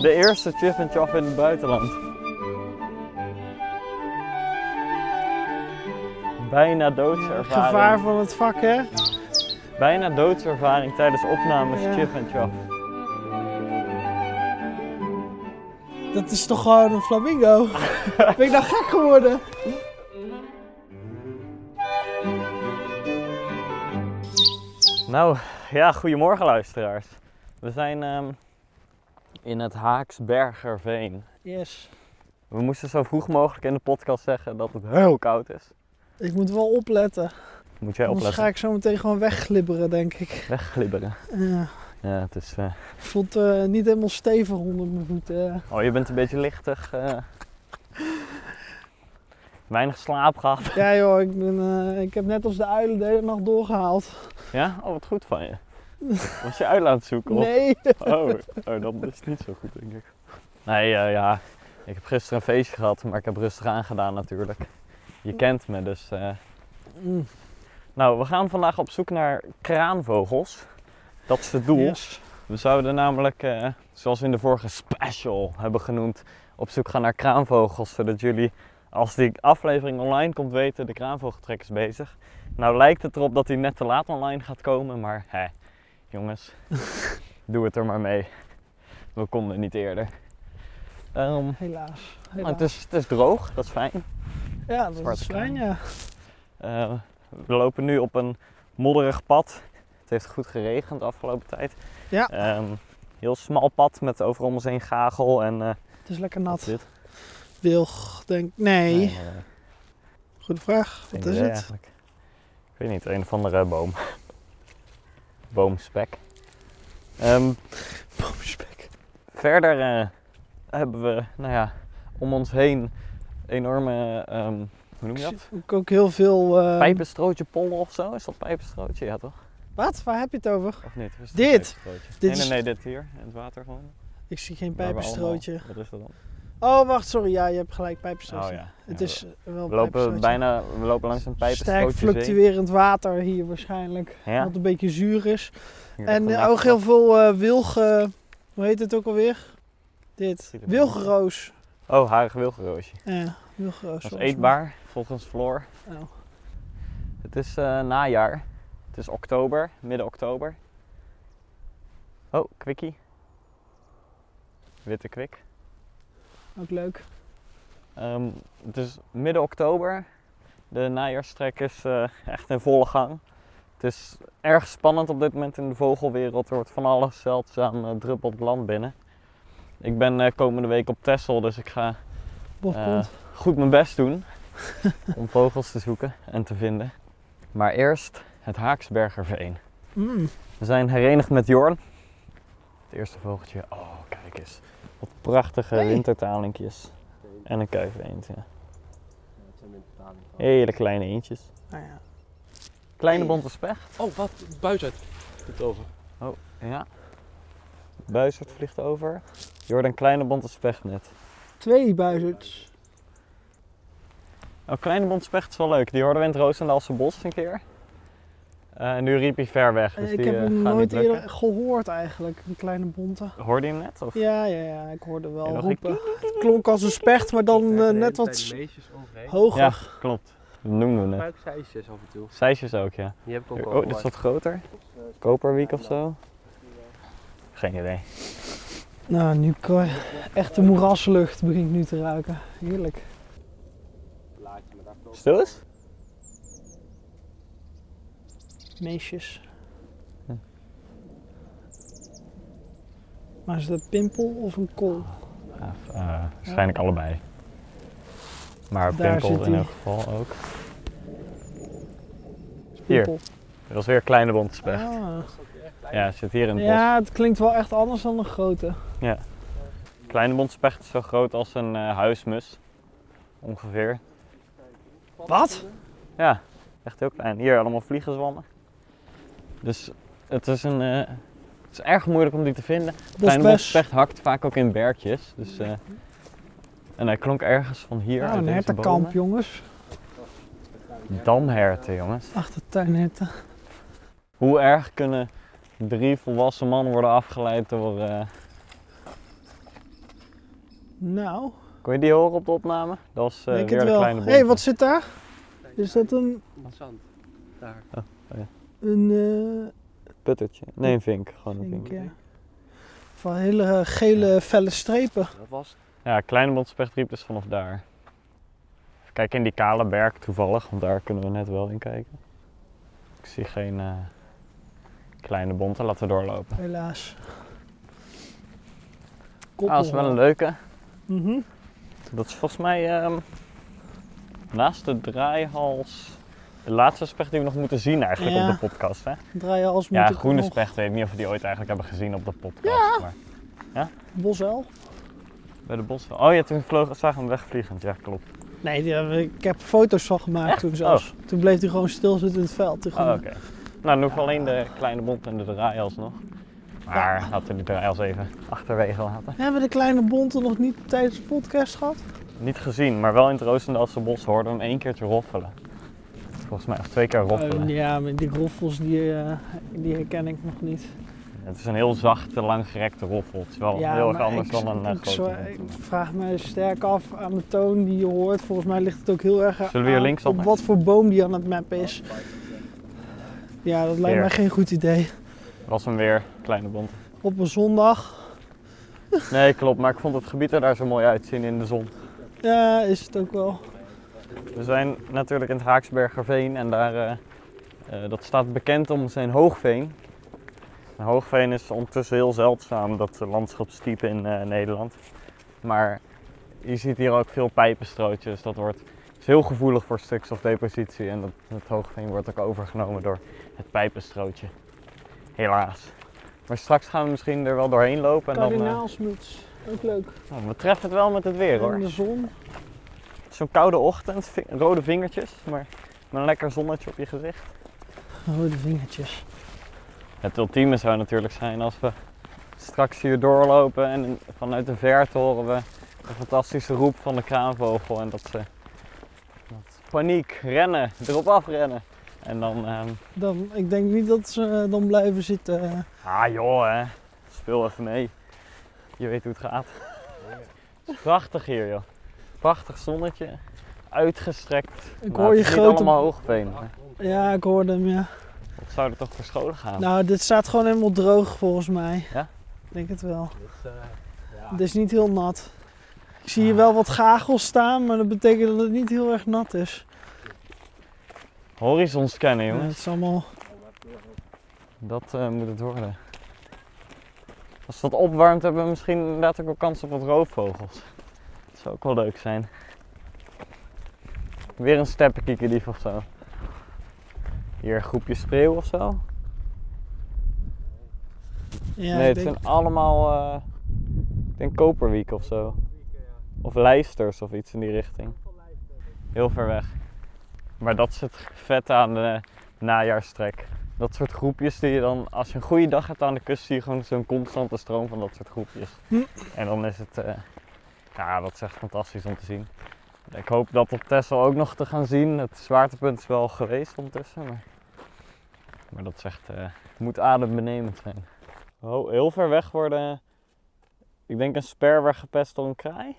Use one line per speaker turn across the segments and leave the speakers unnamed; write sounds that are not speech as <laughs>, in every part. De eerste Chiffen Chaff in het buitenland. Bijna doodservaring.
Gevaar van het vak, hè?
Bijna doodservaring tijdens opnames
Ja.
Chiff en Chaff.
Dat is toch gewoon een
<laughs>
flamingo? ben ik nou gek geworden?
Nou, ja, goedemorgen luisteraars. We zijn ehm, in het Haaksbergerveen.
Yes.
We moesten zo vroeg mogelijk in de podcast zeggen dat het heel koud is.
Ik moet wel opletten.
Moet jij
Anders
opletten.
ga ik zo meteen gewoon wegglibberen, denk ik.
Wegglibberen.
Ja.
Ja, het is... eh,
voelt eh, niet helemaal stevig onder mijn voeten. eh.
Oh, je bent een beetje lichtig. eh. Weinig slaap gehad.
Ja joh, ik, ben, eh, ik heb net als de uilen de hele nacht doorgehaald.
Ja? Oh, wat goed van je. Was je uit aan het zoeken? of-
Nee.
Oh, oh, dat is niet zo goed, denk ik. Nee, eh, ja. Ik heb gisteren een feestje gehad, maar ik heb rustig aangedaan natuurlijk. Je kent me, dus... eh,
Mm,
Nou, we gaan vandaag op zoek naar kraanvogels. Dat is het doel.
yes.
We zouden namelijk, eh, zoals we in de vorige special hebben genoemd, op zoek gaan naar kraanvogels. Zodat jullie, als die aflevering online komt, weten de kraanvogeltrek is bezig. Nou lijkt het erop dat hij net te laat online gaat komen, maar hé, jongens, doe het er maar mee. We konden niet eerder. Ehm,
Helaas.
maar
Helaas.
het, is, het is droog, dat is fijn.
ja, dat
zwart
is fijn, ja.
Eh, we lopen nu op een modderig pad. Het heeft goed geregend de afgelopen tijd.
Ja.
Ehm, heel smal pad met overal om ons heen gagel en eh,
Het is lekker
wat is
nat.
dit?
Wilg, denk Nee.
Nee, eh,
Goede vraag.
geen
Wat is
idee
het?
eigenlijk. Ik weet niet, een of andere boom. <laughs> Boomspek. Ehm,
Boomspek.
verder eh, hebben we, nou ja, om ons heen enorme, ehm, hoe noem je
Ik
dat?
zie ook- ook heel veel... eh,
Pijpenstrootje pollen of zo? Is dat pijpenstrootje? Ja toch?
Wat? Waar heb je het over?
Of niet? Of is het
Dit!
pijpenstrootje?
Dit
nee,
is-
nee, nee, dit hier. In het water gewoon.
Ik zie geen
Waar we
pijpenstrootje.
allemaal- Wat is dat dan?
Oh, wacht, sorry. Ja, je hebt gelijk, pijpenstrootje. Het
Oh, Ja,
is eh, wel een
We lopen,
pijpenstrootje.
bijna, we lopen langs een
Sterk
pijpenstrootje zee.
fluctuerend water hier waarschijnlijk.
Ja.
Wat een beetje zuur is.
Hier
En
vandaag
eh, ook heel veel eh wilgen... Hoe heet het ook alweer? Dit.
Ziet er wel uit.
Wilgenroos.
Oh, harig wilgenroosje.
Ja, wilgenroos.
Dat is
volgens mij.
eetbaar, volgens Floor.
Oh.
Het is eh, najaar. Het is oktober, midden oktober. Oh, kwikkie. Witte kwik.
Ook leuk.
Ehm, het is midden oktober. De najaarstrek is eh, echt in volle gang. Het is erg spannend op dit moment in de vogelwereld. Er wordt van alles zeldzaam eh, druppelt land binnen. Ik ben eh, komende week op Texel, dus ik ga
Bob
Eh,
Pond.
goed mijn best doen <laughs> om vogels te zoeken en te vinden. Maar eerst het Haaksbergerveen.
Mm.
We zijn herenigd met Jorn. Het eerste vogeltje. Oh, kijk eens. Wat prachtige
Hey.
wintertalinkjes. En een kuiveend, ja.
Dat zijn
Hele kleine eentjes.
Nou ja.
Kleine
Hey.
bonte specht.
Oh, wat? Buiten. Goed over.
Ja. Buizerd vliegt over. Jordan, kleine bonte specht net.
Twee buizerds.
Oh, kleine bonte specht is wel leuk. Die hoorden we in het Roosendaalse bos een keer. Eh, en nu riep hij ver weg, dus
Eh, ik
die
heb
eh,
hem
gaan
nooit
niet lukken.
eerder gehoord eigenlijk, een kleine bonte.
Hoorde je hem net? Of?
Ja, ja, ja, ik hoorde wel
En nog
roepen. Het klonk als een specht, maar dan eh, net wat s-
meisjes overheen.
Ja,
hoger.
klopt. Dat noemden we net.
Gebruik zeisjes af en toe.
Seisjes ook, ja.
Die heb ik ook
Oh, dit is wat groter. Koperwiek of zo. Geen idee.
Nou, nu kan echt de moeraslucht begint nu te ruiken. Heerlijk.
Stil eens?
Meisjes.
Hm.
Maar is dat pimpel of een kool?
eh, waarschijnlijk allebei. Maar
Daar
pimpel
zit
in
ie.
elk geval ook. Hier.
Pimpel.
Dit was weer een kleine bondspecht.
Ah.
Ja, zit hier in het bos.
Ja, het klinkt wel echt anders dan een grote.
Kleine bondspecht is zo groot als een eh, huismus. Ongeveer.
Wat?
Ja, echt heel klein. Hier allemaal vliegenzwammen. Dus het is een... eh, het is erg moeilijk om die te vinden. Kleine
Bospes.
botspecht hakt vaak ook in berkjes. Dus, eh, en hij klonk ergens van hier.
Ja,
uit
Nou, een
deze
hertenkamp,
bomen.
jongens.
Damherten, jongens.
Achtertuinherten.
Hoe erg kunnen drie volwassen mannen worden afgeleid door eh,
Nou,
Kon je die horen op de opname? Dat was eh,
denk
weer
het
de
wel.
kleine
Hé,
bom.
hey, wat zit daar? Is dat een,
Interessant. Daar.
een eh,
Puttertje. Nee, een vink. Gewoon een
denk,
vink.
ja, van hele eh, gele felle strepen?
Dat was
Ja, Kleine Bondspechtdiep dus vanaf daar. Even kijken in die kale berg toevallig, want daar kunnen we net wel in kijken. Ik zie geen eh, kleine bonten, laten we doorlopen.
Helaas.
Ah, dat is wel een leuke.
Mhm.
Dat is volgens mij ehm, naast de draaihals de laatste specht die we nog moeten zien eigenlijk
Ja.
op de podcast. Hè?
Draaien als moet
Ja,
ik
groene
nog.
specht, weet ik niet of we die ooit eigenlijk hebben gezien op de podcast. Maar
Bosuil?
bij de bos. Oh ja, toen vloog, zagen we hem wegvliegend, ja klopt.
Nee, die hebben- ik heb foto's van gemaakt toen zelfs. Toen bleef hij gewoon stilzitten in het veld. die
Oh, oké.
groene.
Nou, dan hoeven we alleen de kleine bond en de draaihals nog. Maar laten we de draaihals even achterwege laten.
We hebben de kleine bonten nog niet tijdens de podcast gehad.
Niet gezien, maar wel in het roostende als bos hoorden we hem één keertje roffelen. Volgens mij, of twee keer roffelen.
Eh, ja, maar die roffels die, eh, die herken ik nog niet.
Het is een heel zachte, langgerekte roffel. Het is wel Oh, heel erg
maar
anders
ik-
dan een eh,
ik
grote
zwa-
hond.
Ik vraag me sterk af aan de toon die je hoort. Volgens mij ligt het ook heel erg
Zullen we hier
aan
links
op
dan?
wat voor boom die aan het mappen is. Ja, dat lijkt
Hier.
mij geen goed idee.
Was hem weer, kleine bond.
Op een zondag
Nee, klopt, maar ik vond het gebied er daar zo mooi uitzien in de zon.
ja, is het ook wel.
We zijn natuurlijk in het Haaksbergerveen en daar, eh, eh, dat staat bekend om zijn hoogveen. En hoogveen is ondertussen heel zeldzaam, dat eh, landschapstype in eh, Nederland. Maar je ziet hier ook veel pijpenstrootjes. Dat wordt, is heel gevoelig voor stikstofdepositie en dat, het hoogveen wordt ook overgenomen door het pijpenstrootje. Helaas. Maar straks gaan we misschien er wel doorheen lopen. En dan, eh,
Kardinaalsmuts, ook leuk.
nou, we treffen het wel met het weer hoor.
In de zon.
Zo'n koude ochtend, vi- rode vingertjes, maar met een lekker zonnetje op je gezicht.
Rode Oh, vingertjes.
Het ultieme zou natuurlijk zijn als we straks hier doorlopen en in- vanuit de verte horen we een fantastische roep van de kraanvogel. En dat ze dat paniek, rennen, erop afrennen. En dan, ehm,
Dan, ik denk niet dat ze eh, dan blijven zitten. eh.
ah joh hè, speel even mee. Je weet hoe het gaat. Het is prachtig hier joh. Prachtig zonnetje, uitgestrekt.
Ik
Nou,
hoor
het
je
is
grote-
niet allemaal hoogveen. maar
Ja, ik hoorde hem, ja.
Wat zou er toch voor scholen gaan?
Nou, dit staat gewoon helemaal droog volgens mij.
Ja? Ah.
Ik denk het wel.
Dit is, eh, ja.
Het is niet heel nat. Ik zie hier wel wat gagels staan, maar dat betekent dat het niet heel erg nat is.
Horizon scannen,
Ja,
jongens.
het is allemaal...
Dat eh, moet het worden. Als dat opwarmt, hebben we misschien inderdaad ook wel kans op wat roofvogels. Dat zou ook wel leuk zijn. Weer een steppenkiekendief of zo. Hier een groepje spreeuw of zo.
Ja,
nee,
ik
het
denk,
zijn allemaal. eh, ik denk koperwiek of zo. Of lijsters of iets in die richting. Heel ver weg. Maar dat is het vet aan de najaarstrek. Dat soort groepjes die je dan, als je een goede dag hebt aan de kust, zie je gewoon zo'n constante stroom van dat soort groepjes.
Hm.
En dan is het, eh, ja, dat is echt fantastisch om te zien. Ik hoop dat op Texel ook nog te gaan zien. Het zwaartepunt is wel geweest ondertussen. Maar, maar dat is echt, eh, moet adembenemend zijn. Oh, heel ver weg worden. Ik denk een sper werd gepest door een kraai.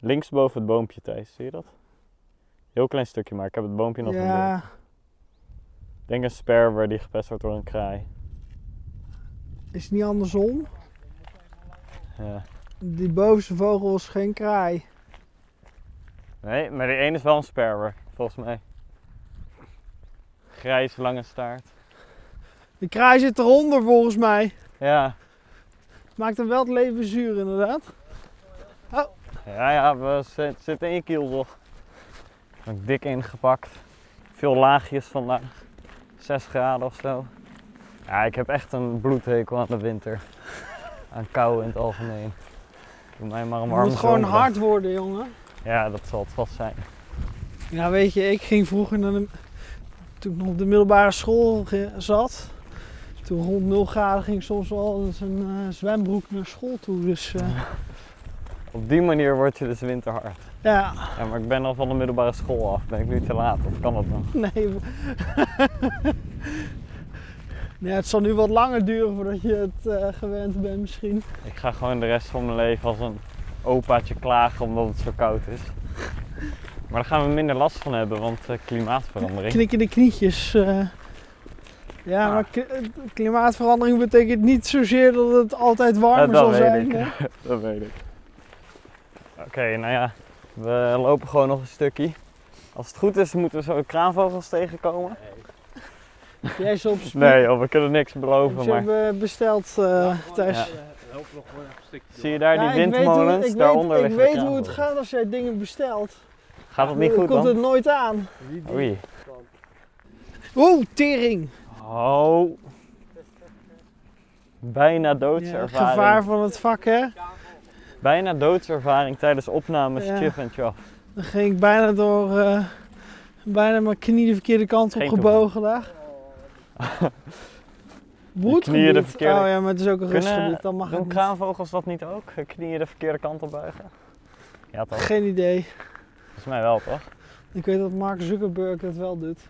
Links boven het boompje, Thijs. Zie je dat? Heel klein stukje, maar ik heb het boompje nog niet door.
ja,
Ik denk een sper waar die gepest wordt door een kraai.
is het niet andersom.
Ja.
Die bovenste vogel is geen kraai.
Nee, maar die ene is wel een sperwer, volgens mij. Grijs, lange staart.
De kraai zit eronder volgens mij.
Ja,
Maakt hem wel het leven zuur inderdaad.
ja, ja we zi- zitten in je kiel toch? Ook dik ingepakt. Veel laagjes vandaag. 6 graden of zo. Ja, ik heb echt een bloedhekel aan de winter. <laughs> Aan kou in het algemeen. Doe mij maar een
Het
warm
moet gewoon hard worden, jongen.
Ja, dat zal het vast zijn.
Ja, weet je, ik ging vroeger naar de. Toen ik nog op de middelbare school ge- zat. Toen rond 0 graden ging ik soms wel eens een eh, zwembroek naar school toe.
<laughs>
Dus eh,
Op die manier word je dus winterhard.
ja,
Ja, maar ik ben al van de middelbare school af. Ben ik nu te laat of kan dat nog?
nee. ja, het zal nu wat langer duren voordat je het eh, gewend bent, misschien.
Ik ga gewoon de rest van mijn leven als een opaatje klagen omdat het zo koud is. Maar daar gaan we minder last van hebben, want eh, klimaatverandering.
Knikkende knietjes. eh. ja,
Ah.
maar k- eh, klimaatverandering betekent niet zozeer dat het altijd warmer
Ja, dat
zal
weet
zijn.
ik.
hè?
<laughs> Dat weet ik. Oké, nou ja, we lopen gewoon nog een stukje. Als het goed is, moeten we zo kraanvogels tegenkomen.
Nee.
Jij is op spe-
Nee joh, we kunnen niks beloven,
Ze
maar...
hebben besteld eh, thuis.
Ja.
Loop nog gewoon even een stukje door.
Zie je daar
Ja,
die
ik weet hoe-
windmolens?
ik
Daaronder
weet, ik
liggen de
weet hoe het
kraanvogels.
gaat als jij dingen bestelt. Eh,
Gaat dat niet goed
komt
dan?
het nooit aan.
Niet die
Oei.
kant.
Oeh, tering.
Oh. Bijna
Ja,
doodservaring.
gevaar van het vak, hè?
Bijna doodservaring tijdens opnames
Ja.
Chif en Chaff.
Dan ging ik bijna door, eh, bijna mijn knie de verkeerde kant op
Geen
gebogen
<laughs>
daar.
knieën de verkeerde-
Oh ja, maar het is ook een
Kunnen-
rustgebied, dan mag
Doen
ik niet.
kraanvogels dat niet ook? Hun Knieën de verkeerde kant op buigen? Ja toch,
Geen idee.
volgens mij wel toch?
Ik weet dat Mark Zuckerberg dat wel doet.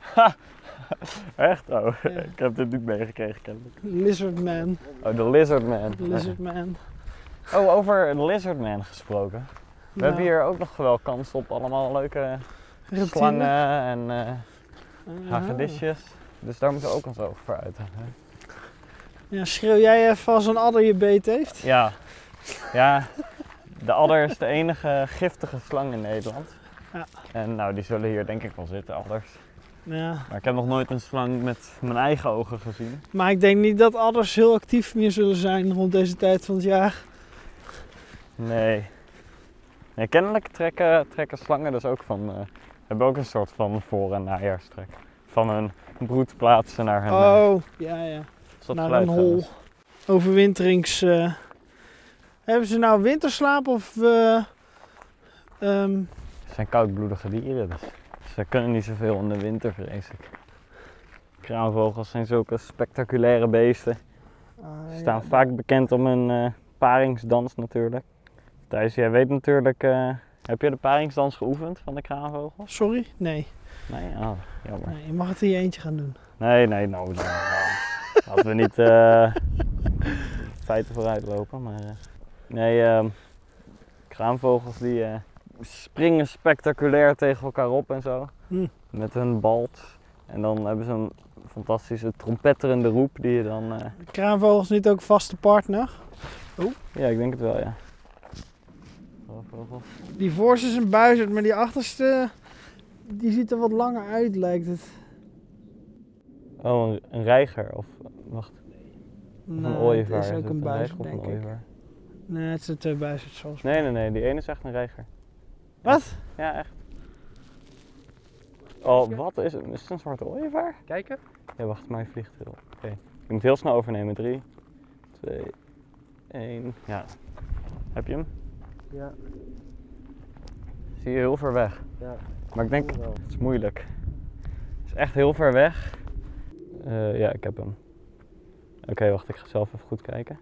Echt? Oh,
Ja.
<laughs> ik heb dit niet meegekregen kennelijk.
Lizard Man.
Oh, de Lizardman.
Lizard Man.
<laughs> Oh, over de Lizardman gesproken. We
Nou,
hebben hier ook nog wel kans op allemaal leuke
reptielen.
slangen en eh
Ah.
hagedisjes. Dus daar moeten we ook ons oog voor uit hebben.
Ja, schreeuw jij even als een adder je beet heeft?
Ja. ja, de adder is de enige giftige slang in Nederland.
Ja.
En nou, die zullen hier denk ik wel zitten, adders.
Ja.
Maar ik heb nog nooit een slang met mijn eigen ogen gezien.
Maar ik denk niet dat adders heel actief meer zullen zijn rond deze tijd van het jaar.
Nee. nee kennelijk trekken, trekken slangen dus ook van. eh, hebben ook een soort van voor- en najaarstrek. Van hun broedplaatsen naar hun. eh, Dus
Oh, ja, ja.
is dat
naar
geluid
een
wel
hol.
eens?
overwinterings. eh, hebben ze nou winterslaap of. eh, ehm,
Het zijn koudbloedige dieren, dus ze kunnen niet zoveel in de winter, vrees ik. Kraanvogels zijn zulke spectaculaire beesten.
ah,
Ze staan
ja.
vaak bekend om hun eh, paringsdans natuurlijk. Thijs, jij weet natuurlijk, eh, heb je de paringsdans geoefend van de kraanvogel?
Sorry? Nee.
Nee? Oh, jammer.
nee. Je mag het in je eentje gaan doen.
Nee, nee, nou, dan, nou, laten we niet eh, feiten vooruit lopen. Maar, eh, nee, ehm, kraanvogels die eh, springen spectaculair tegen elkaar op en zo.
Hm.
Met hun balt. En dan hebben ze een fantastische trompetterende roep die je dan... eh,
Kraanvogels niet ook vaste partner.
ja, ik denk het wel, ja. Kraanvogels.
Die voorste is een buizerd, maar die achterste. die ziet er wat langer uit, lijkt het.
Oh, een, een reiger of wacht, of een ooievaar.
Nou, Het is ook
het
een
reiger
buizerd,
of
denk
een
ik.
ooievaar?
Nee, het zijn twee buizerds zoals.
Nee, nee, nee, die ene is echt een reiger.
Wat?
Ja, echt. Oh, wat is het? Is het een zwarte ooievaar?
Kijken?
Ja, wacht, mij vliegt heel. Oké, ik moet heel snel overnemen. 3, 2, 1. Ja. Heb je hem?
Ja.
Zie je heel ver weg.
Ja.
Maar ik denk,
voel wel.
het is moeilijk. Het is echt heel ver weg. Eh, ja, ik heb hem. Oké, wacht, ik ga zelf even goed kijken.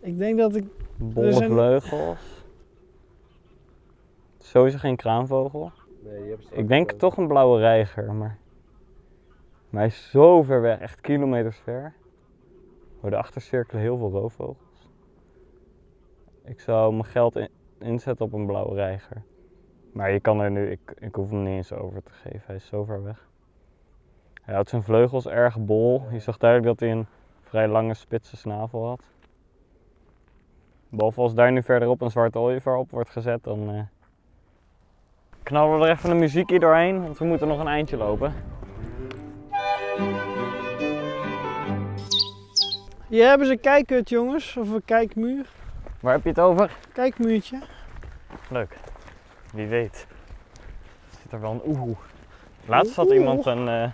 Ik denk dat ik.
Bolle
zijn-
vleugels. Sowieso geen kraanvogel.
Nee, die hebben ze
Ik denk
ook, eh,
toch een blauwe reiger, maar... Maar hij is zo ver weg, echt kilometers ver. Oh, daarachter cirkelen heel veel roofvogels. Ik zou mijn geld in- inzetten op een blauwe reiger. Maar je kan er nu, ik, ik hoef hem niet eens over te geven, hij is zo ver weg. Hij had zijn vleugels erg bol. Je zag duidelijk dat hij een vrij lange spitse snavel had. Behalve als daar nu verderop een zwarte ooievaar op wordt gezet, dan... eh, knallen we er even de muziek hier doorheen, want we moeten nog een eindje lopen.
Hier hebben ze een kijkhut, jongens. Of een kijkmuur.
Waar heb je het over?
Kijkmuurtje.
Leuk. Wie weet. Zit er wel een oehoe. Laatst had iemand een, eh, eh,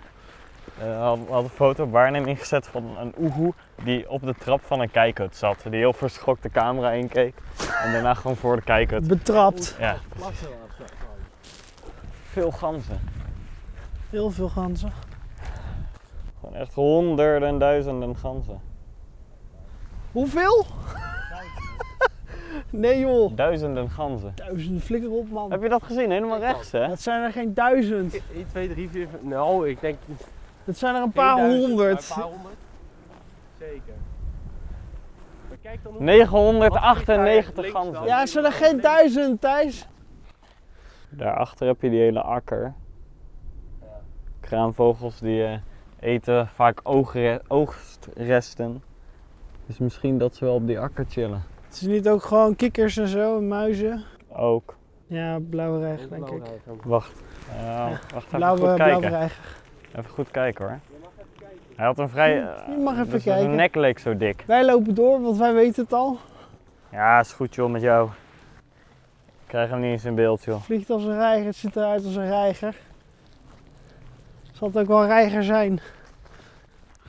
had, had een foto op waarneming gezet van een oehoe die op de trap van een kijkhut zat. Die heel verschrokt de camera inkeek en daarna gewoon voor de kijkhut.
Betrapt.
Ja,
plassen wel afstaan.
veel ganzen.
Heel veel ganzen.
Gewoon echt honderden en duizenden ganzen.
Hoeveel? <laughs> nee joh.
Duizenden ganzen.
Duizenden flikker op man.
Heb je dat gezien? Helemaal rechts hè?
Dat zijn er geen duizend.
1, 2, 3, 4, 5. Nou, ik denk een
Dat zijn er een paar honderd.
Een paar honderd. Zeker. Maar kijk dan hoe- Wat
998
vliegt daar links
ganzen.
dan?
Ja, zijn er geen duizend, Thijs?
Daarachter heb je die hele akker.
Ja.
Kraanvogels die eh, eten vaak oogre- oogstresten. Dus misschien dat ze wel op die akker chillen.
Het is niet ook gewoon kikkers en zo, en muizen.
Ook.
Ja, blauwe
Heel
regen, denk ik.
belangrijk ook.
Wacht. Ja, wacht even
Blauwe,
goed kijken.
blauwe reiger.
Even goed kijken hoor. Hij had een vrij...
Je- je mag
eh,
even
dus
kijken.
Zijn nek leek zo dik.
Wij lopen door, want wij weten het al.
Ja, is goed joh met jou. Ik krijg hem niet eens in beeld joh.
Vliegt als een reiger, het ziet eruit als een reiger. Zal het ook wel een reiger zijn?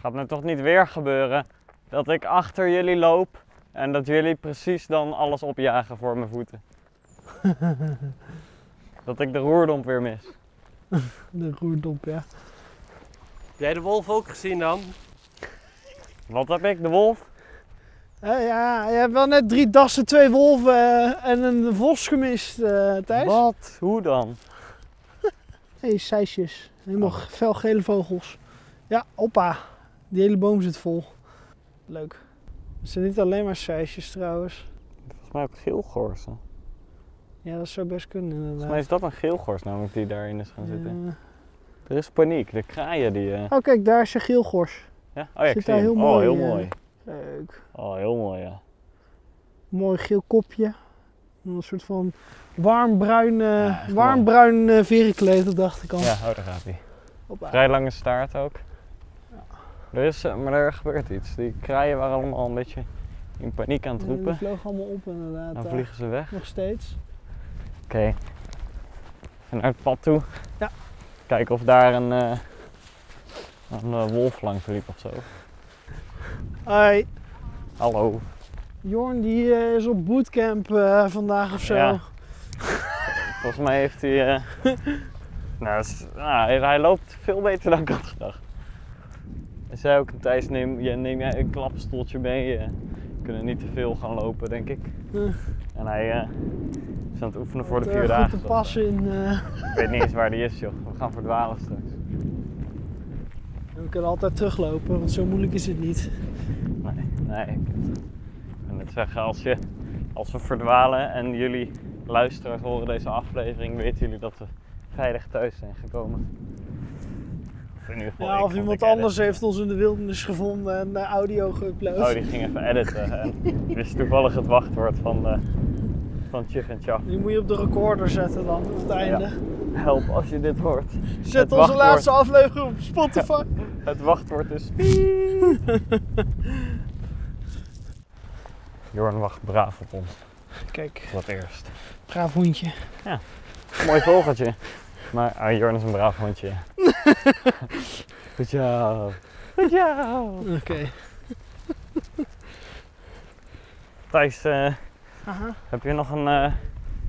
Gaat me toch niet weer gebeuren dat ik achter jullie loop en dat jullie precies dan alles opjagen voor mijn
<laughs>
voeten. dat ik de roerdomp weer mis.
De roerdomp, ja.
Heb jij de wolf ook gezien dan?
Wat heb ik, de wolf?
Eh, ja, je hebt wel net drie dassen, twee wolven eh, en een vos gemist, eh, Thijs.
Wat? Hoe dan?
Nee, sijsjes. Helemaal
Oh.
felgele vogels. Ja, oppa. Die hele boom zit vol. Leuk. Het zijn niet alleen maar sijsjes trouwens.
Volgens mij ook geelgorsen.
Ja, dat zou best kunnen
Volgens mij
inderdaad.
is dat een geelgors namelijk die daarin is gaan zitten.
Eh,
Er is paniek, de kraaien die... eh,
oh, kijk, daar is een geelgors.
Ja? Oh ja, ik
Zit
zie
daar
hem.
heel
Oh,
mooi,
heel
eh,
mooi.
Leuk.
Oh, heel mooi ja.
Mooi geel kopje. En Een soort van warmbruin, eh,
Ja, echt
warmbruin eh, verenkleed op de achterkant.
Ja, oh, daar gaat hij.
Hoppa.
Vrij lange staart ook. Er is, eh, maar er gebeurt iets. Die kraaien waren allemaal een beetje in paniek aan het
En die
roepen.
vloog allemaal op inderdaad.
Dan
daar.
vliegen ze weg.
Nog steeds.
Oké. En naar het pad toe.
Ja.
Kijken of daar een, eh, een eh, wolf langs liep of zo.
Hoi.
Hallo.
Jorn die eh, is op bootcamp eh, vandaag of zo.
Ja. Volgens mij heeft hij. eh,
<laughs>
nou, dat is- nou, hij- hij loopt veel beter dan ik had gedacht. Hij zei ook, Thijs, neem, jij- neem jij een klapstoeltje mee. eh, We kunnen niet te veel gaan lopen, denk ik.
Eh.
En hij eh, is aan het oefenen voor de
Eh,
vier dagen.
Goed te
zoals,
passen in... eh,
eh, Ik weet niet eens waar die is, joh. We gaan verdwalen straks.
En we kunnen altijd teruglopen, want zo moeilijk is het niet.
Nee, nee. Ik wil net zeggen, als, je, als we verdwalen en jullie luisteraars horen deze aflevering, weten jullie dat we veilig thuis zijn gekomen. Of, in ieder geval Oh, ik,
Ja, of
want
iemand
ik edit.
anders heeft ons in de wildernis gevonden en de audio geüpload.
Oh, die ging even editen. En wist toevallig het wachtwoord van, eh van Chif en Chaf.
Die moet je op de recorder zetten dan, op het einde.
Help als je dit hoort.
Zet onze
wachtwoord.
laatste aflevering op Spotify.
Het wachtwoord
<laughs>
is. Jorn wacht braaf op ons,
Kijk,
voor het eerst.
braaf hondje.
Mooi vogeltje. Maar ah, Jorn is een braaf hondje.
<laughs>
Goed jou. Goed jou.
Oké.
Thijs, eh,
Aha.
heb je nog een... eh,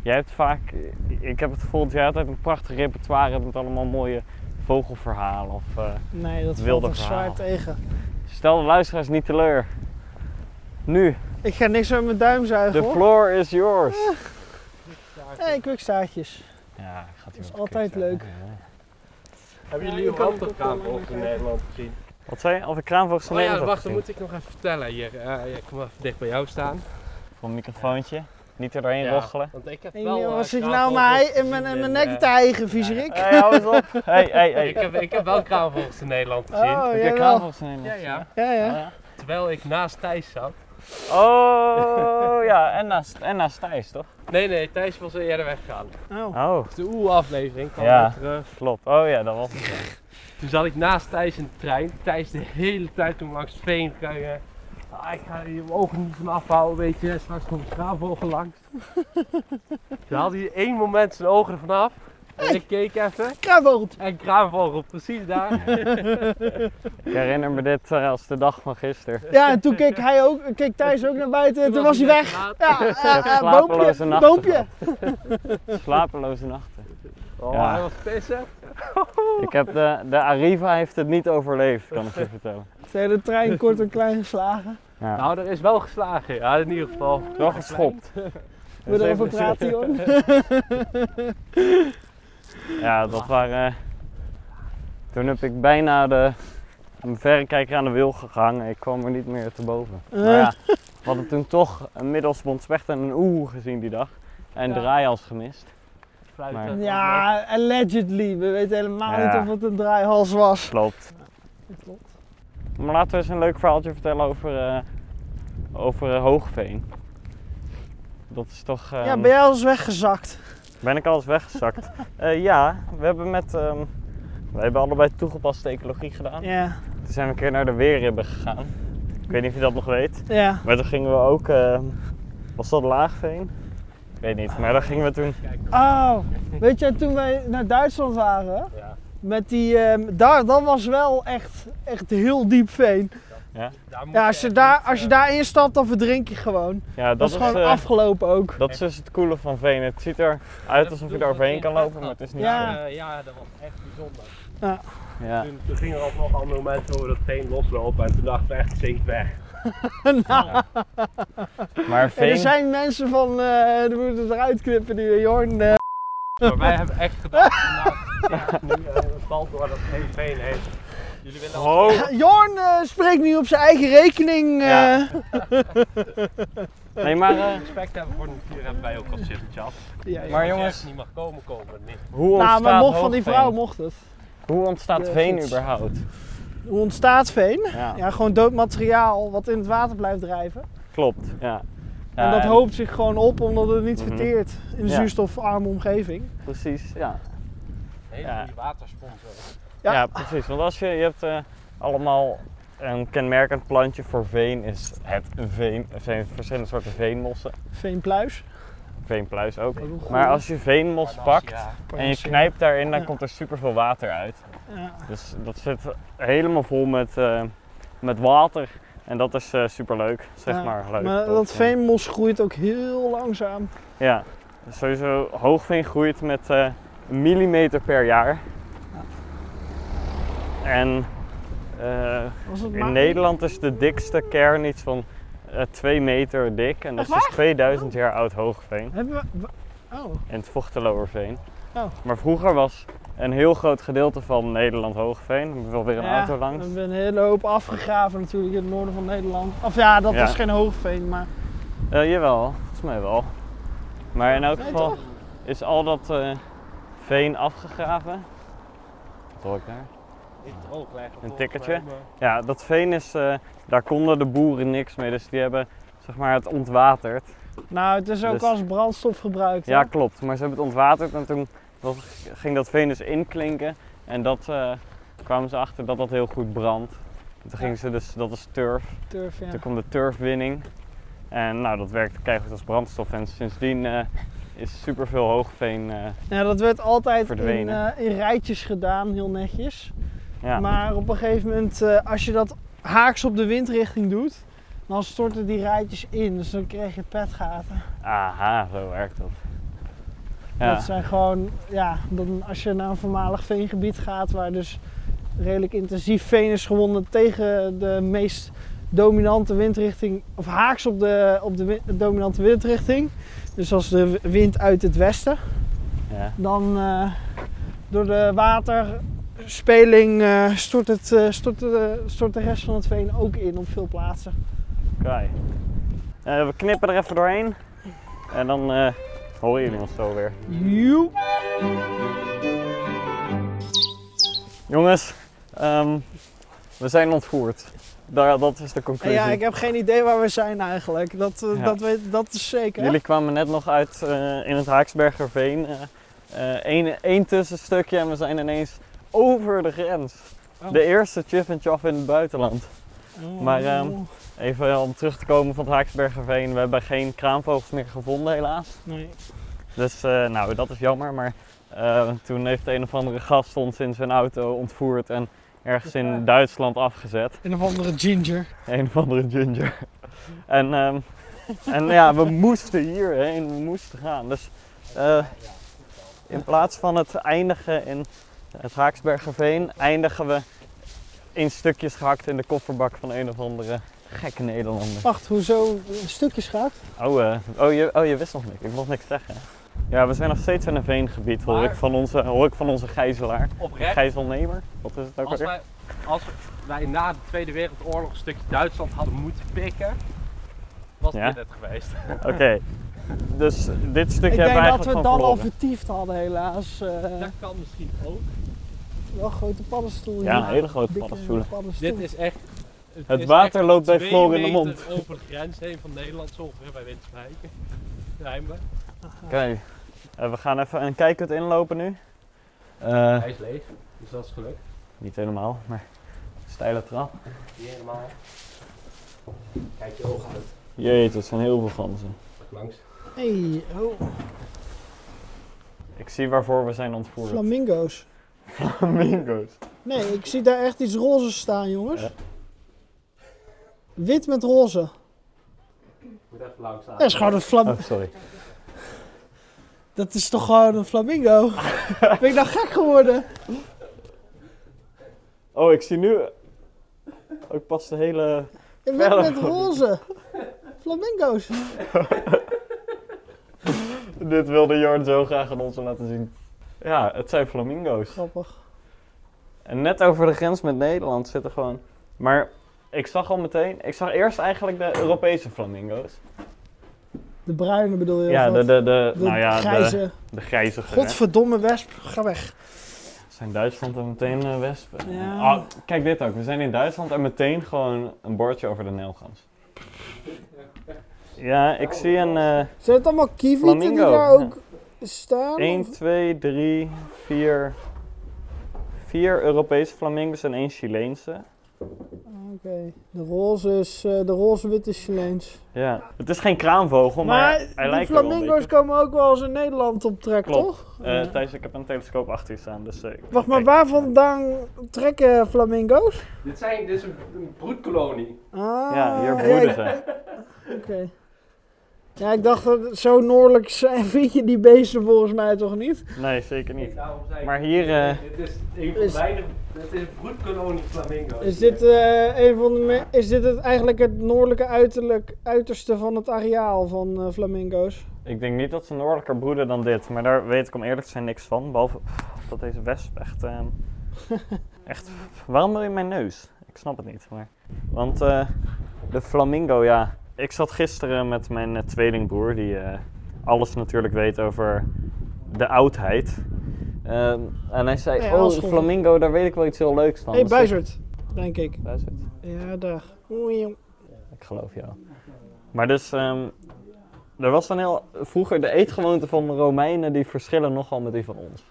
jij hebt vaak... eh, Ik heb het gevoel dat jij altijd een prachtig repertoire hebt met allemaal mooie vogelverhalen. Of, eh,
Nee, dat valt
Wilde
toch zwaar
verhaal.
tegen.
stel de luisteraars niet teleur. Nu,
Ik ga niks met mijn duim zuigen
the
hoor.
floor is
Ah.
yours.
Nee, kwikstaartjes.
Ja, ik ga het
is
hier op
altijd
klikken.
leuk.
Ja, ja.
Hebben
Ja,
jullie
je
uw
kan
hand
het
op
ook wel
kraanvogels
langer
in Nederland gezien?
Wat zei je? Of de kraanvogels van
Oh ja,
Nederland
wacht, dat
gezien?
moet ik nog even vertellen hier. Eh, ja, ik kom even dicht bij jou staan.
Voor een microfoontje. Niet er doorheen rochelen.
Want ik heb
Ik
wel.
denk,
eh,
Wat zit je nou
kraanvogels
maar in mijn,
gezien
in mijn
in, eh,
nek te eigen, viezerik?
Hé, hou eens op. Hé, hé, hé.
Ik heb, ik heb wel kraanvogels in Nederland gezien.
Oh,
Heb je
jawel.
kraanvogels in
ja,
Nederland?
ja.
Ja,
gezien?
ja.
Oh, ja.
Terwijl ik naast Thijs zat.
Oh ja, en naast, en naast Thijs, toch?
Nee, nee, Thijs was al eerder weggegaan.
Oh.
Oh,
De oeh-aflevering kwam
Ja.
weer terug.
klopt. Oh ja, dat was het.
Toen zat ik naast Thijs in de trein. Thijs de hele tijd toen langs het veen kijken. Ah, ik ga je ogen niet van afhouden, weet je. Straks komt een kraanvogel langs. toen had hij één moment zijn ogen ervan af. En ik keek even.
Kraanvogeltje.
En kraanvogel, precies
<laughs>
daar.
Ik herinner me dit eh, als de dag van gisteren.
Ja, en toen keek hij ook, keek Thijs ook naar buiten en toen was hij weg.
net
Ja,
laat.
Ik heb
eh, eh,
slapeloze
boompje,
nachten
boompje.
gehad. Slapeloze nachten.
Oh,
Ja.
hij was pissen.
Ik heb de, de Arriva heeft het niet overleefd, kan ik je vertellen.
De hele trein kort en klein geslagen.
Ja,
Nou, er is wel geslagen. Ja, in ieder geval.
het is wel
<laughs>
geschopt.
We
Dus
erover
even-
praten,
<laughs>
joh.
Ja, dat waren... eh, toen heb ik
Eh.
bijna de een verrekijker aan de wiel gehangen. Ik kwam er niet meer te boven. Maar ja, We hadden toen toch een middelspont specht en een oeh gezien die dag. En
Ja.
draaihals gemist. Maar-
Ja, allegedly. We weten helemaal
Ja.
niet of het een draaihals was.
Klopt. Maar laten we eens een leuk verhaaltje vertellen over, eh, over eh, Hoogveen. Dat is toch...
ja,
ehm,
ben jij al eens weggezakt?
Ben ik al eens weggezakt?
<laughs>
Eh, ja, we hebben met. ehm we hebben allebei toegepaste ecologie gedaan.
Ja,
Toen zijn we een keer naar de Weerribben gegaan. Ik weet niet of je dat nog weet.
ja.
Maar toen gingen we ook. ehm, was dat Laagveen? Ik weet niet, maar daar gingen we toen.
Oh, weet je, toen wij naar Duitsland waren,
Ja.
met die, ehm, daar, dat was wel echt, echt heel diep veen. Ja, als je, daar, als je daar instapt, dan verdrink je gewoon.
Ja, dat,
Dat is gewoon
eh,
afgelopen ook.
dat is dus het coole van Veen. Het ziet eruit alsof je er overheen kan lopen, maar het is niet.
Ja.
zo.
Eh, ja, dat was echt bijzonder.
Ja.
Toen, toen gingen er ook nog andere mensen over dat veen loslopen en toen dachten we echt, zinkt weg.
Maar
En er
Veen.
zijn mensen van, eh die moeten het eruit knippen nu, Jorn. eh.
Maar wij hebben echt <laughs> gedacht, nou, echt nu eh, een bal door dat hele veen heen. Jullie willen
<laughs>
al-
Oh.
Jorn eh, spreekt nu op zijn eigen rekening.
Ja.
eh.
Nee, maar eh,
respect hebben voor de natuur, hebben wij ook al zitten, Chas.
Ja, ja.
Maar
Als je
jongens-
echt niet mag komen, komen we niet.
hoe ontstaat
Nou, maar mocht van die
Hoogveen?
vrouw mocht het.
Hoe ontstaat
Ja,
Veen
goed.
überhaupt?
Hoe ontstaat veen?
Ja,
Ja, gewoon dood materiaal wat in het water blijft drijven.
klopt. Ja.
en
Ja,
dat hoopt zich gewoon op omdat het niet
Mhm.
verteert in een
Ja.
zuurstofarme omgeving.
Precies, ja.
Hele
Ja.
goede watersponsor.
Ja.
Ja. precies. Want als je, je hebt eh, allemaal een kenmerkend plantje voor veen is het veen. Er zijn verschillende soorten veenmossen.
Veenpluis.
Veenpluis ook.
Ook een goeie.
Maar als je veenmos pakt
Ja.
en je knijpt daarin, dan
Ja.
komt er superveel water uit.
Ja.
Dus dat zit helemaal vol met, eh, met water. En dat is eh, superleuk, zeg
Ja.
maar. Leuk, eh,
maar dat veenmos groeit ook heel langzaam.
Ja, dus sowieso hoogveen groeit met eh, een millimeter per jaar. En eh,
Als het maar-
in Nederland is de dikste kern iets van eh 2 meter dik. En dat is dus 2000 jaar oud hoogveen.
Hebben we... wa- Oh,
In het Vochteloverveen.
Oh.
Maar vroeger was een heel groot gedeelte van Nederland hoogveen. Wel weer een
Ja,
auto
we
langs.
hebben een hele hoop afgegraven natuurlijk in het noorden van Nederland. Of ja, dat
Ja.
is geen hoogveen, maar...
Eh, jawel, volgens mij wel. Maar in elk
Nee,
geval
toch?
is al dat eh, veen afgegraven. Wat hoor ik daar?
Niet droogleggen.
Een
volgens
tikkertje?
mij, maar-
Ja, dat veen is, eh, daar konden de boeren niks mee, dus die hebben zeg maar, het ontwaterd.
Nou, het is ook
Dus-
als brandstof gebruikt. hè?
Ja, klopt, maar ze hebben het ontwaterd en toen was- ging dat veen dus inklinken en dat eh, kwamen ze achter dat dat heel goed brandt. En toen gingen ze dus, dat is turf,
Turf, ja.
toen kwam de turfwinning en nou dat werkte keihard als brandstof en sindsdien eh, is superveel hoogveen, eh
Ja, dat werd altijd in,
Verdwenen.
eh, in rijtjes gedaan, heel netjes.
ja,
Maar op een gegeven moment, eh, als je dat haaks op de windrichting doet, dan storten die rijtjes in. Dus dan krijg je petgaten.
aha, zo werkt dat. Ja.
Dat zijn gewoon, ja, dan als je naar een voormalig veengebied gaat, waar dus redelijk intensief veen is gewonnen tegen de meest dominante windrichting, of haaks op de, op de win- dominante windrichting. Dus als de w- wind uit het westen,
ja.
dan eh, door de waterspeling eh, stort, het, eh, stort, de, stort de rest van het veen ook in op veel plaatsen.
Oké. Eh, we knippen er even doorheen en dan eh, horen jullie ons zo weer.
Joep.
Jongens, ehm, we zijn ontvoerd. Daar, dat is de
En
conclusie.
ja, ik heb geen idee waar we zijn eigenlijk. Dat, eh,
Ja.
dat, weet, dat is zeker.
Jullie kwamen net nog uit eh, in het Haaksbergerveen. Eh, Eén één tussenstukje en we zijn ineens over de grens.
Oh.
De eerste Chif en Chaff in het buitenland.
Oh.
maar, ehm, Even om terug te komen van het Haaksbergerveen. We hebben geen kraanvogels meer gevonden helaas.
nee.
Dus eh, nou, dat is jammer. Maar eh, toen heeft een of andere gast ons in zijn auto ontvoerd en ergens in Duitsland afgezet. <laughs>
Een of andere ginger.
Een of andere ginger. En, ehm, en ja, we moesten hierheen, we moesten gaan. Dus eh, in plaats van het eindigen in het Haaksbergerveen, eindigen we in stukjes gehakt in de kofferbak van een of andere gekke Nederlander.
Wacht, hoezo? Stukjes gaat?
Oh, eh, oh, je, oh, je wist nog niks. Ik mocht niks zeggen. Ja, we zijn nog steeds in een veengebied, hoor, ik,
Maar-
van onze, hoor ik van onze gijzelaar.
eh, Oprecht,
Gijzelnemer? Wat is het ook
als
alweer?
wij, als wij na de Tweede Wereldoorlog een stukje Duitsland hadden moeten pikken, was
Ja?
dit het geweest.
Oké, dus dit stukje
Ik
hebben we
denk dat
eigenlijk
we het
gewoon
dan al
verloren.
vertiefd hadden helaas. Eh,
<laughs> Dat kan misschien ook.
wel een grote paddenstoel
Ja,
hier.
hele grote
Dikke
paddenstoelen.
paddenstoel.
Dit is echt...
Het
is
water loopt bij
twee
Floor in de
meter
mond.
over de grens heen van Nederland, zo ongeveer bij Winswijken. Rijnbaar.
Oké, eh, we gaan even een kijkhut inlopen nu. Eh,
Hij is leeg, dus dat is gelukt.
niet helemaal, maar steile trap.
Hier helemaal. Kijk je ogen uit.
Jeet, dat zijn heel veel ganzen.
Langs.
Hey, oh,
Ik zie waarvoor we zijn ontvoerd.
flamingo's.
Flamingo's.
Nee, ik zie daar echt iets roze staan, jongens.
Ja.
Wit met roze.
Moet even langs aan.
Dat is gewoon een flam.
Oh, sorry.
Dat is toch gewoon een
<laughs>
flamingo? ben ik nou gek geworden?
Oh, ik zie nu ook pas de hele...
En wit
Verder.
met roze. Flamingo's.
Dit wilde Jorn zo graag aan ons laten zien. Ja, het zijn flamingo's.
Grappig.
En net over de grens met Nederland zitten gewoon... Maar ik zag al meteen... Ik zag eerst eigenlijk de Europese flamingo's.
De bruine bedoel je?
Ja,
of
de,
wat?
de, de, nou ja,
grijze.
de, de grijzige. hè.
Godverdomme wesp, ga weg.
Zijn Duitsland en meteen eh, wespen.
Ja.
Oh, kijk dit ook. We zijn in Duitsland en meteen gewoon een bordje over de Nijlgans. Ja, ik zie een... eh,
Zijn het allemaal kievieten die
Flamingo,
daar
ja.
ook staan?
1, 2, 3, 4. 4 Europese flamingo's en 1 Chileense.
Oké, de roze is, eh, de roze-witte is Chileens.
Ja. Het is geen kraanvogel, maar, hij
die
lijkt er wel een
flamingo's
beetje.
komen ook wel eens in Nederland op trek,
Klopt.
toch?
Eh,
Ja.
Thijs, ik heb een telescoop achter je staan, dus... eh, ik-
Wacht, maar
kijk.
waar vandaan trekken flamingo's?
Dit, zijn, dit is een, een broedkolonie.
Ah,
Ja, hier
ja,
broeden
ik-
ze.
Oké. Ja, ik dacht, dat zo noordelijk <laughs> zijn, vind je die beesten volgens mij toch niet?
Nee, zeker niet.
Daarom zei ik-
Maar hier... eh,
Dit is een van
Is-
de weinig... Dit is een broedkolonie flamingo's.
Is dit, eh, een van de me- is dit het, eigenlijk het noordelijke uiterlijk, uiterste van het areaal van eh, flamingo's?
Ik denk niet dat ze noordelijker broeden dan dit, maar daar weet ik om eerlijk te zijn niks van. Behalve dat deze wesp echt. ehm, echt waarom wil je mijn neus? Ik snap het niet. Maar, want eh, de flamingo, ja. Ik zat gisteren met mijn eh, tweelingbroer, die eh, alles natuurlijk weet over de oudheid. Ehm, en hij zei:
Nee,
Oh,
alles
de
goed.
flamingo, daar weet ik wel iets heel leuks van.
Hé, hey,
Dus ik-
buizerd, denk ik.
Buizerd.
Ja, dag. Oei, jong.
Ik geloof jou. Maar dus, ehm, er was dan heel vroeger de eetgewoonte van de Romeinen, die verschillen nogal met die van ons.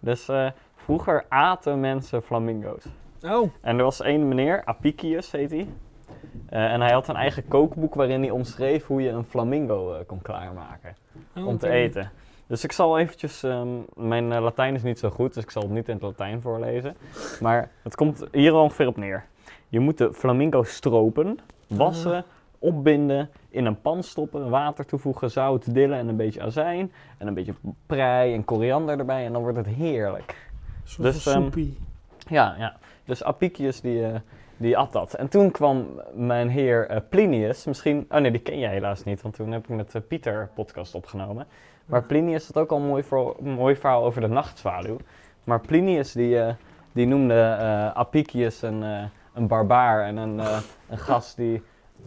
Dus eh, vroeger aten mensen flamingo's.
Oh.
En er was één meneer, Apicius heet hij. Eh, en hij had een eigen kookboek waarin hij omschreef hoe je een flamingo eh, kon klaarmaken om te eten. Dus ik zal eventjes, ehm, mijn eh, Latijn is niet zo goed, dus ik zal het niet in het Latijn voorlezen. Maar het komt hier ongeveer op neer. Je moet de flamingo stropen, wassen, opbinden, in een pan stoppen, water toevoegen, zout, dillen en een beetje azijn. En een beetje prei en koriander erbij en dan wordt het heerlijk.
Dus,
Dus, ehm, Ja, ja. Dus Apicius die, eh, die at dat. En toen kwam mijn heer eh, Plinius, misschien... Oh nee, die ken jij helaas niet, want toen heb ik met eh, Pieter podcast opgenomen. Maar Plinius had ook al een mooi, voor, een mooi verhaal over de nachtzwaluw. Maar Plinius die, eh, die noemde eh, Apicius een, eh, een barbaar en een, eh, een gast die...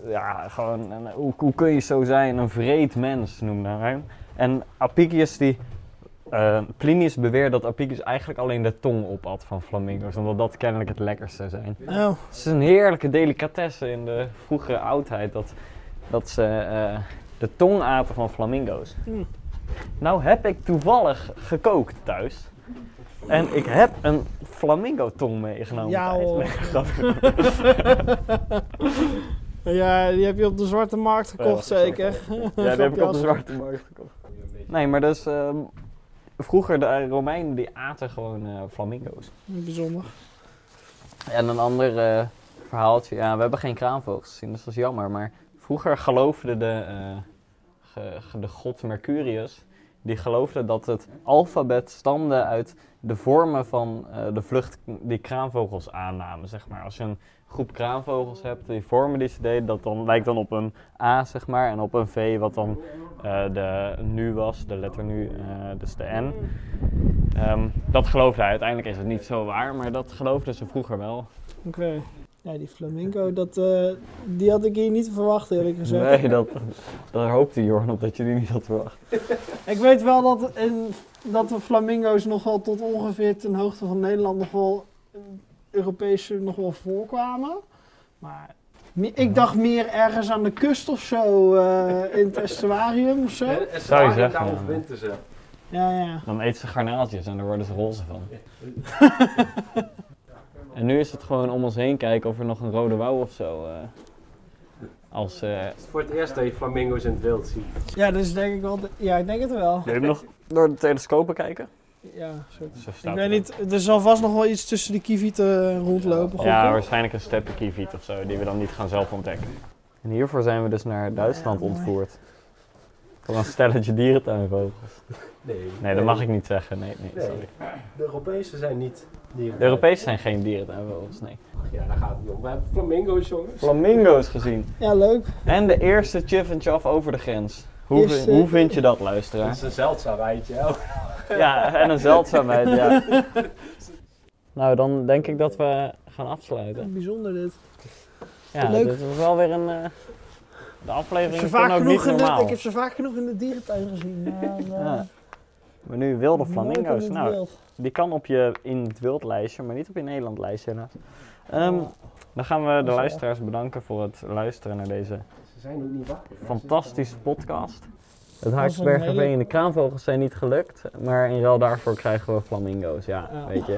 Ja, gewoon, een- hoe, hoe kun je zo zijn? Een vreed mens noemde hij hem. En Apicius die... eh, Plinius beweert dat Apicius eigenlijk alleen de tong opat van flamingo's, omdat dat kennelijk het lekkerst zou zijn.
Oh,
Het is een heerlijke delicatesse in de vroegere oudheid dat, dat ze eh, de tong aten van flamingo's.
Mm.
Nou heb ik toevallig gekookt thuis. En ik heb een flamingo tong meegenomen.
Ja,
Thijs.
hoor.
Nee, grapje.
<laughs> ja, die heb je op de zwarte markt gekocht,
Ja,
zeker. <laughs>
Ja, die heb ik op de
Grapjas.
zwarte markt gekocht. Nee, maar dus ehm, vroeger de Romeinen die aten gewoon eh, flamingo's.
Bijzonder.
En een ander eh, verhaaltje. Ja, we hebben geen kraanvogels gezien, dus dat is jammer. Maar vroeger geloofde de, eh, ge- ge- de god Mercurius... die geloofde dat het alfabet stamde uit de vormen van eh, de vlucht... die kraanvogels aannamen, zeg maar. Als je een groep kraanvogels hebt, die vormen die ze deden... dat dan, lijkt dan op een A, zeg maar, en op een V... wat dan eh, de nu was, de letter nu, eh, dus de N... Ehm, dat geloofde hij. Uiteindelijk is het niet zo waar, maar dat geloofden ze vroeger wel.
Oké. Ja, die flamingo, dat, eh, die had ik hier niet verwacht eerlijk gezegd.
Nee, dat, daar hoopte Jorn op dat je die niet had verwacht.
Ik weet wel dat, in, dat de flamingo's nog wel tot ongeveer ten hoogte van Nederland nog wel eh, Europese nog wel voorkwamen. Maar me- ik dacht meer ergens aan de kust of zo, eh, in het estuarium of zo.
En, en
Zou je
ze
zeggen,
daar
ja.
overwinteren ze.
Ja, ja.
Dan eet ze garnaaltjes en daar worden ze roze van. <laughs> En nu is het gewoon om ons heen kijken of er nog een rode wouw of zo. eh, als. eh
Het is voor het eerst dat je flamingo's in het wild ziet.
Ja, dus denk ik wel. de- Ja, ik denk het wel.
Wil je hem nog door de telescopen kijken?
Ja, soort.
Zo
Ik
staat
weet
het
niet, er zal vast nog wel iets tussen de kievieten rondlopen.
dan.
gok
Ja,
ik.
waarschijnlijk een steppenkievit of zo, die we dan niet gaan zelf ontdekken. En hiervoor zijn we dus naar Duitsland
Ja, mooi.
ontvoerd. Van een stelletje dierentuinvogels.
Nee,
Nee, dat mag ik niet zeggen. Nee, nee,
Nee.
sorry.
De Europese zijn niet dieren.
De Europese zijn geen dierentuinvogels, nee.
Ja, daar gaat het niet om. We hebben flamingo's, jongens.
Flamingo's gezien.
ja, leuk.
En de eerste Chif en Chaff over de grens. Hoe,
Is,
vi-
eh,
hoe vind je dat,
Dat
luisteraar?
is een zeldzaam eitje. hè.
Ja, en een zeldzaamheid, ja.
<laughs>
Nou, dan denk ik dat we gaan afsluiten.
Bijzonder dit.
Ja,
Leuk.
dit was wel weer een... eh, de
Ik heb,
aflevering
ze
is
vaak
ook niet
genoeg in de,
normaal.
ik heb ze vaak genoeg in de dierentuin
<laughs>
gezien. Maar, eh,
Ja. Maar nu wilde
nooit in
flamingo's.
het
Nou,
wild.
die kan op je in het wild lijstje, maar niet op je Nederland lijstje helaas. Ehm,
Ja.
dan gaan we de
Oh. is
luisteraars bedanken voor het luisteren naar deze
Ze zijn ook niet wakker.
fantastische podcast. Het
een hele-
Haaksbergerveen en de kraanvogels zijn niet gelukt, maar in ruil daarvoor krijgen we flamingo's. Ja,
Ja.
weet je.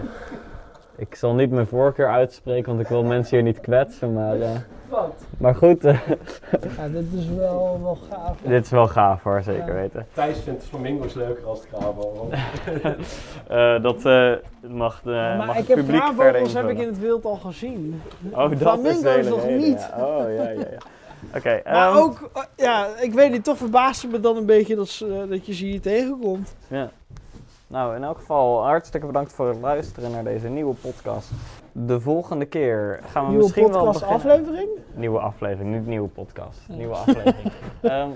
Ik zal niet mijn voorkeur uitspreken, want ik wil mensen hier niet kwetsen. Maar, eh,
Wat?
maar goed, eh, <laughs>
Ja, dit is wel, wel gaaf.
dit is wel gaaf hoor, zeker
Ja.
weten.
Thijs vindt flamingo's leuker als de kraanvogel.
Eh, dat eh, mag, de, mag
maar ik
het
heb
publiek verder
kraanvogels heb ik in
invullen.
het wild al gezien.
Oh, dat is de
Flamingo's
hele
nog
reden,
niet.
ja. Oh, ja, ja,
<laughs>
ja. Oké,
maar
ehm,
ook, eh, ja, ik weet niet, toch verbaasde me dan een beetje dat, ze- eh, dat je ze hier tegenkomt.
Ja. Nou, in elk geval hartstikke bedankt voor het luisteren naar deze nieuwe podcast. De volgende keer gaan we
Nieuwe
misschien wel
podcast
beginnen...
aflevering.
Nieuwe aflevering, niet nieuwe podcast.
Ja.
Nieuwe aflevering. Ehm,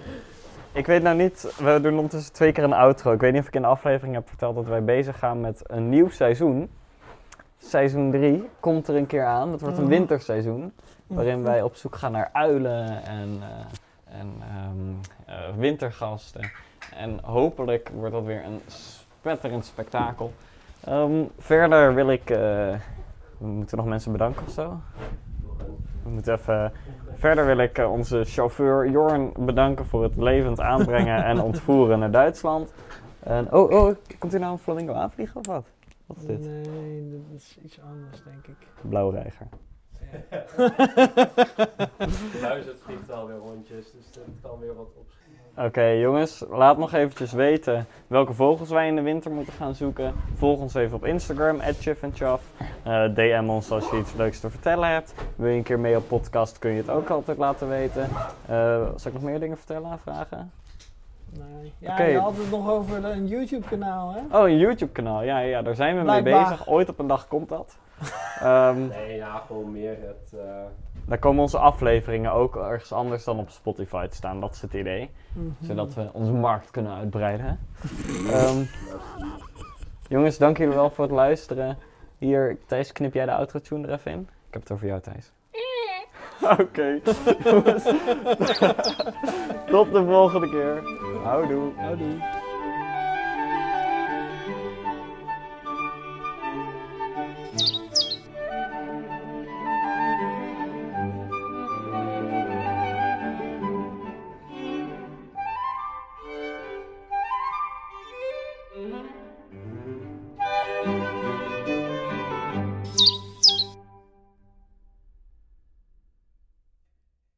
ik weet nou niet, we doen ondertussen twee keer een outro. Ik weet niet of ik in de aflevering heb verteld dat wij bezig gaan met een nieuw seizoen. Seizoen 3 komt er een keer aan. Dat wordt een
Mhm.
winterseizoen. Waarin wij op zoek gaan naar uilen en, eh, en ehm, eh, wintergasten. En hopelijk wordt dat weer een spetterend spektakel. Ehm, verder wil ik. eh, we moeten nog mensen bedanken of zo? We moeten even. Verder wil ik eh, onze chauffeur Jorn bedanken voor het levend aanbrengen en ontvoeren naar Duitsland. En, oh, oh, komt hier nou een flamingo aanvliegen of wat? Wat is dit?
Nee, dat is iets anders, denk ik.
Blauwe reiger.
Luister, het vliegt alweer rondjes, dus dat kan weer wat op.
Oké jongens, laat nog eventjes weten welke vogels wij in de winter moeten gaan zoeken. Volg ons even op Instagram, @chifandchaf. Eh, DM ons als je iets leuks te vertellen hebt. Wil je een keer mee op podcast, kun je het ook altijd laten weten. Eh zal ik nog meer dingen vertellen, vragen?
Nee. Ja,
Oké.
je had het nog over een YouTube-kanaal, hè?
Oh, een YouTube kanaal, ja, ja, ja, daar zijn we mee
Blijkbaar.
bezig. Ooit op een dag komt dat. Ehm,
Nee, ja, gewoon meer het. eh,
daar komen onze afleveringen ook ergens anders dan op Spotify te staan, dat is het idee. Zodat we onze markt kunnen uitbreiden. Ehm, jongens, dank jullie wel voor het luisteren. Hier, Thijs, knip jij de outro tune er even in? Ik heb het over jou, Thijs. <laughs> Oké, <laughs> jongens. Tot de volgende keer. Houdoe.
Houdoe.